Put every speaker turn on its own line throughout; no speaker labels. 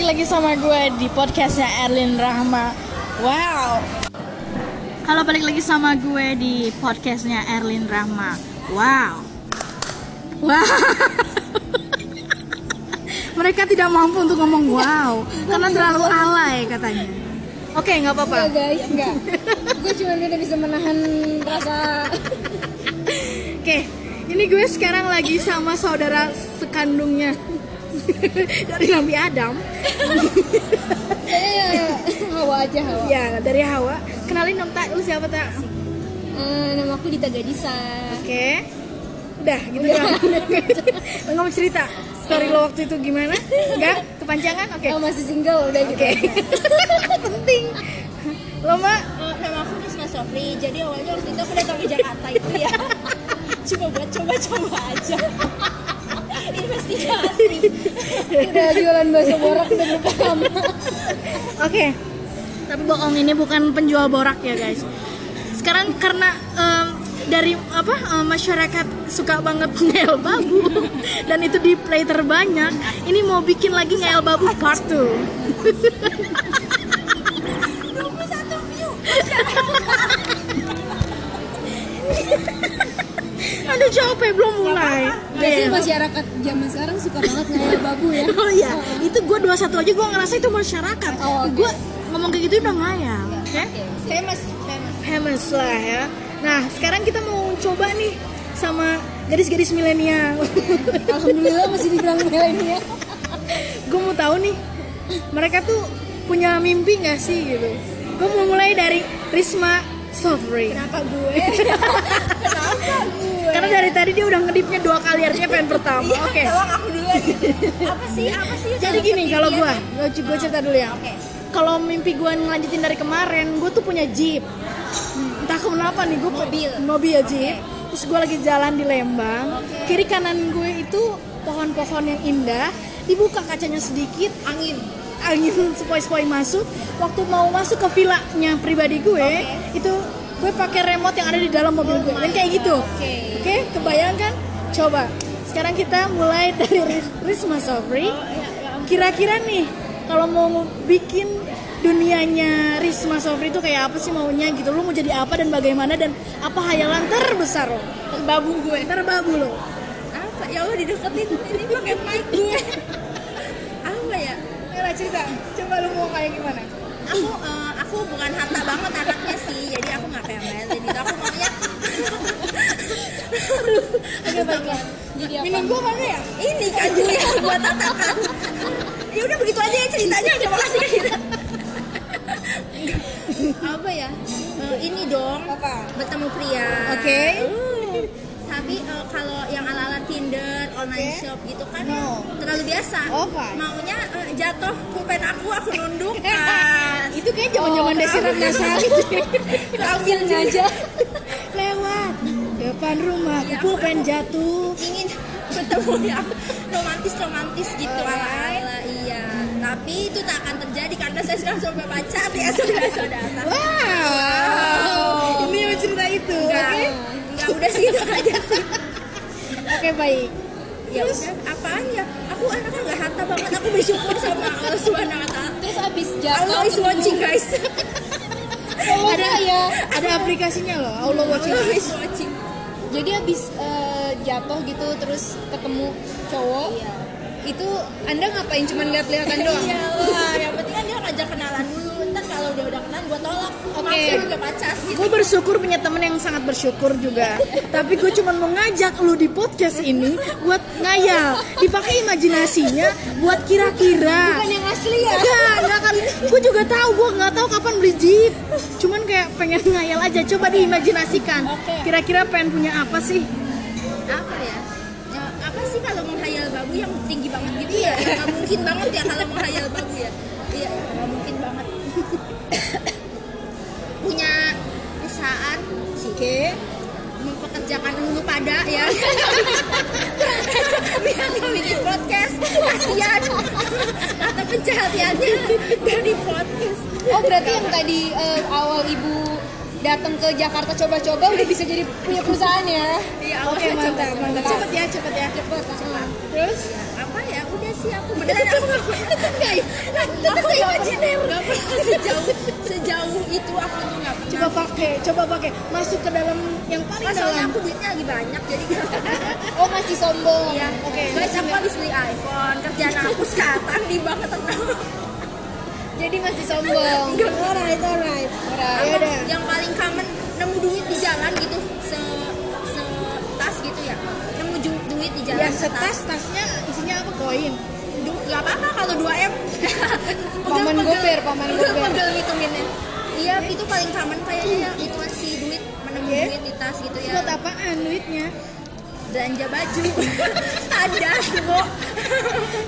lagi sama gue di podcastnya Erlin Rahma. Wow. Halo balik lagi sama gue di podcastnya Erlin Rahma. Wow. Wow. Mereka tidak mampu untuk ngomong wow karena terlalu alay katanya. Oke, nggak apa-apa.
Enggak Iya, guys, enggak. gue cuma tidak bisa menahan rasa
Oke, ini gue sekarang lagi sama saudara sekandungnya dari Nabi Adam.
saya hawa aja hawa.
Ya, dari Hawa. Kenalin dong tak, lu siapa tak?
Eh, nama aku Dita Gadisa.
Oke. Udah gitu doang. Lo nggak mau cerita story lo waktu itu gimana? Enggak? Kepanjangan? Oke.
Oh, masih single udah gitu.
Oke. Penting. Lo mak?
Eh, nama aku Risma Sofri. Jadi awalnya waktu itu aku datang ke Jakarta itu ya. Cuma buat coba-coba aja. Investigasi. udah jualan bakso borak udah buka kamar.
Oke. Tapi bohong ini bukan penjual borak ya guys. Sekarang karena em, dari apa em, masyarakat suka banget ngel babu dan itu di play terbanyak. Ini mau bikin lagi ngel babu part 2.
21 view.
Aduh capek belum mulai.
Berarti
Iya.
masyarakat zaman sekarang suka banget ngayal babu ya.
Oh iya, itu gue 21 aja gue ngerasa itu masyarakat.
Oh, oke.
Gue ngomong kayak gitu udah ngayal. Oke.
Famous, famous.
Famous lah ya. Nah, sekarang kita mau coba nih sama gadis-gadis milenial.
Alhamdulillah masih dibilang ya. milenial.
gue mau tahu nih, mereka tuh punya mimpi nggak sih gitu. Gue mau mulai dari Risma Sofri.
Kenapa gue? Kenapa gue?
Karena dari tadi dia udah ngedipnya dua kali artinya pengen pertama.
Iya,
Iya,
Oke.
Tolong aku dulu aja. Apa sih? Apa sih?
Jadi gini kalau gue, gue cerita dulu ya.
Oke.
Kalau mimpi gue ngelanjutin dari kemarin, gue tuh punya jeep. Hmm, Entah kenapa nih gue
Mobil.
mobil jeep. Terus gue lagi jalan di Lembang.
Oke.
Kiri kanan gue itu pohon-pohon yang indah. Dibuka kacanya sedikit,
Angin.
angin sepoi-sepoi masuk. Waktu mau masuk ke villanya pribadi gue,
Oke.
itu gue pakai remote yang ada di dalam mobil gue. Dan kayak gitu.
Oke.
Oke, kebayang kan? Coba. Sekarang kita mulai dari Ris- Risma Sofri.
Oh, iya.
Kira-kira nih, kalau mau bikin dunianya Risma Sofri itu kayak apa sih maunya gitu? Lu mau jadi apa dan bagaimana dan apa hayalan terbesar lo? Terbabu gue. Terbabu lo.
Apa? Ya Allah dideketin ini pakai mic gue. Apa ya?
Ayolah cerita, coba lu mau kayak gimana?
aku eh, aku bukan harta banget anaknya sih jadi aku nggak kayak Mbak Elin gitu aku maunya
Agak bagus. Jadi apa?
Minim gue mana ya?
ini kayu yang buat tatakan ya udah begitu aja ya ceritanya terima kasih apa ya Eh, ini dong
Apa?
bertemu pria
Oke.
tapi eh, kalau yang ala-ala Tinder,
Oke.
online shop gitu kan
No.
terlalu biasa.
Oh,
kan?
fine.
Maunya eh, jatuh kupen aku, aku nunduk. Ah,
itu kayak zaman-zaman
Oh,
Desi
kenapa?
Ratnasari
Angin aja.
lewat depan rumah
Iya,
kupu
aku-
pengen jatuh
ingin bertemu yang romantis romantis gitu
Alright.
ala ala iya tapi itu tak akan terjadi karena saya sekarang sudah pacar ya sudah sudah
wow, ini yang cerita itu oke
enggak enggak udah sih itu aja sih
oke baik
ya udah apaan ya aku anaknya nggak harta banget aku bersyukur sama Allah subhanahu wa ta'ala
Terus abis
Allah
jatuh.
is watching guys
Ada ya.
ada aplikasinya loh Allah watching
Allah
Eyes.
is watching
Jadi abis eh, jatuh gitu terus ketemu cowok. Itu Anda ngapain? Cuman lihat-lihatan doang.
iya lah yang penting kan dia ngajak kenalan dulu ntar kalau dia udah kenal gua tolak
Oke.
langsung juga pacar gitu
gue bersyukur punya temen yang sangat bersyukur juga tapi gue cuma mau ngajak lu di podcast ini buat ngayal dipakai imajinasinya buat kira-kira
Bukan yang asli ya.
Enggak, enggak kan. Gue juga tahu, gue nggak tahu kapan beli jeep. Cuman kayak pengen ngayal aja, coba diimajinasikan.
Oke.
Kira-kira pengen punya apa sih?
apa ya? Ya, apa sih kalau menghayal babu yang tinggi banget gitu ya? Ya, nggak mungkin banget ya kalau menghayal babu ya. Iya, nggak mungkin banget. Punya perusahaan sih. Mempekerjakan hulu pada ya. Biar nggak bikin podcast. Kasihan. Atau penjahatannya dari podcast.
Oh berarti yang tadi eh, awal ibu datang ke Jakarta coba-coba udah bisa jadi punya perusahaan ya.
Iya,
Oke,
awalnya
mantap,
coba-coba.
mantap.
Cepet ya, cepet ya.
Cepet, cepet.
Terus?
Ya, apa ya udah sih aku beneran aku nggak nggak aku imajiner nggak pernah sejauh sejauh itu aku tuh nggak pernah
Coba pakai, coba pakai. Masuk ke dalam yang paling
masalahnya
dalam.
aku duitnya lagi banyak jadi
Oh masih sombong.
ya
oke.
guys aku habis beli iPhone kerjaan aku sekarang di bank tenang
Jadi masih sombong.
Alright, alright.
Alright.
Ya udah.
yang paling common nemu duit di jalan gitu se se tas gitu ya nemu ju- duit di jalan
Ya setas tasnya isinya apa? Koin.
Du- nggak apa-apa kalau 2 m
Paman gober, paman gober.
pegel ngituminnya iya itu paling common kayaknya ya itu si duit menemu
Oke.
duit di tas gitu ya
Buat apaan duitnya?
belanja baju standar kok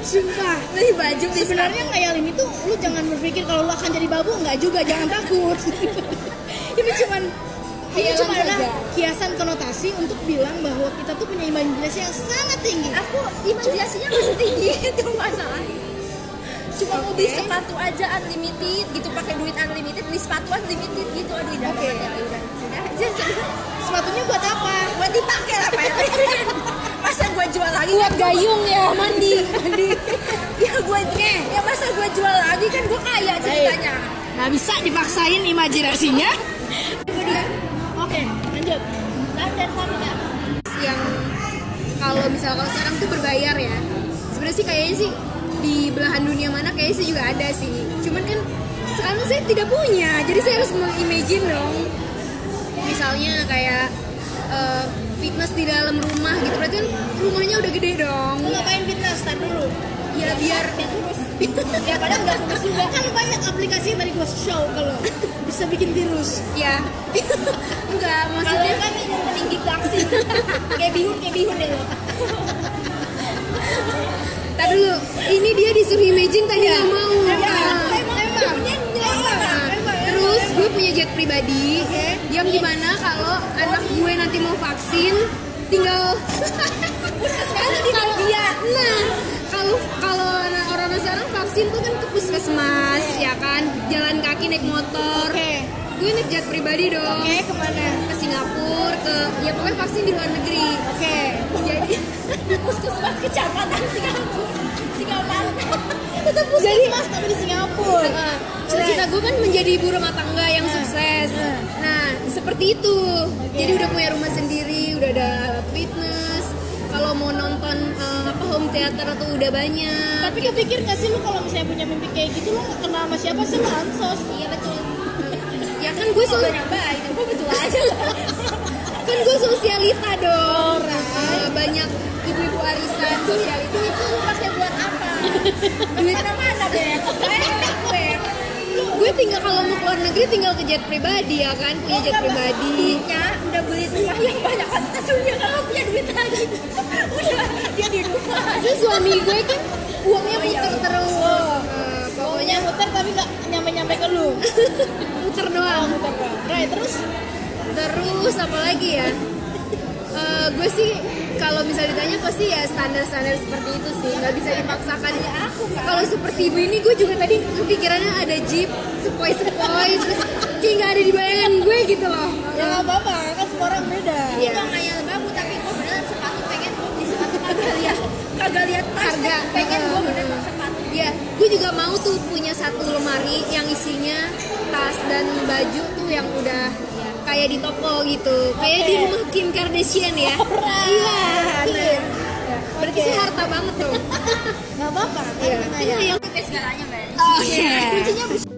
Sumpah.
beli baju beli
Sebenarnya ngayalin itu lu jangan berpikir kalau lu akan jadi babu nggak juga, jangan takut. ini cuman ini
Iya,
Khayalan
cuma
saja.
adalah hiasan konotasi untuk bilang bahwa kita tuh punya imajinasi yang sangat tinggi.
sepatu. aku imajinasinya masih tinggi itu masalahnya cuma mau beli
Oke.
sepatu aja unlimited gitu pakai duit unlimited beli sepatu unlimited gitu aduh udah
Oke.
banget ya udah udah aja
Sepatunya buat apa?
buat dipakai lah Pak. masa gua jual lagi
Buat gayung ya mandi, mandi.
ya gue ya masa gue jual lagi kan gue kaya ceritanya
Nggak bisa dipaksain imajinasinya. Oke, lanjut.
standar sama ya
yang kalau misal kalau sekarang tuh berbayar ya sebenarnya sih kayaknya sih di belahan dunia mana kayaknya sih juga ada sih cuman kan sekarang saya tidak punya jadi saya harus mengimagine dong misalnya kayak eh, fitness di dalam rumah gitu berarti kan rumahnya udah gede dong
Lu ngapain fitness? Tar dulu.
ya biar
ya padahal nggak fokus juga. Kan banyak aplikasi yang tadi gua show kalau bisa bikin virus.
ya enggak
kalau
maksudnya
kan minum peninggi vaksin kayak bihun kayak bihun deh lo
tak dulu ini dia disuruh imaging tadi nggak mau Ah.
Emang, emang, emang.
Terus gue punya jet pribadi yang dimana kalau anak gue nanti mau vaksin tinggal kalau di dia. Nah, kalau kalau anak- orang-orang sekarang vaksin tuh kan ke puskesmas ya kan, jalan kaki naik motor.
Oke.
Gue naik jet pribadi dong
Oke, kemana?
ke Singapura, ke ya pokoknya vaksin di luar negeri.
Oke.
Jadi
puskesmas kecamatan Singapura Singapura
Tetap puskesmas tapi di Singapura.
Eh, cita-cita gue kan menjadi ibu rumah tangga yang sukses. Nah, seperti itu. Jadi udah punya rumah sendiri, udah ada alat fitness. Kalau mau nonton eh, apa home theater tuh udah banyak.
Tapi kepikir nggak sih lu kalau misalnya punya mimpi kayak gitu lu nggak kenal sama siapa sih lu ansos? Iya betul.
Ya kan gue so
baik gue betul aja
kan gue sosialita dong.
Oh, iya.
Eh, banyak ibu-ibu arisan sosialita.
duit lu pakai buat apa mana mana deh
Eh, Gue tinggal kalau mau keluar negeri tinggal ke jet pribadi ya kan,
Oh,
punya jet pribadi.
duitnya udah beli rumah yang banyak kan sudah kalau punya duit lagi udah dia di rumah
Terus suami gue kan uangnya
Oh, iya,
muter
betul.
terus. Eh,
Pokoknya muter tapi nggak nyampe-nyampe ke lu.
muter doang.
Right, terus
Terus apa lagi ya? Eh, gue sih kalau misalnya ditanya pasti ya standar-standar seperti itu sih nggak bisa dipaksakan ya aku kalau seperti ibu ini gue juga tadi kepikirannya ada jeep sepoi sepoi terus kayak nggak ada di bayangan gue gitu loh
ya nggak apa-apa kan semua orang beda.
Iya.
Ini gak ngayal bagus tapi gue beneran sepatu pengen gue beli sepatu kagak lihat kagak lihat pas
Harga.
pengen gue beneran
Heeh.
sepatu
ya gue juga mau tuh punya satu lemari yang isinya tas dan baju tuh yang udah kayak di toko gitu kayak di
Oke.
rumah Kim Kardashian ya iya nah, berarti sih harta banget tuh
Nggak apa-apa. kan
Iya.
namanya.
Iya, yang
Oke, segalanya mbak
Oke.
kuncinya bersih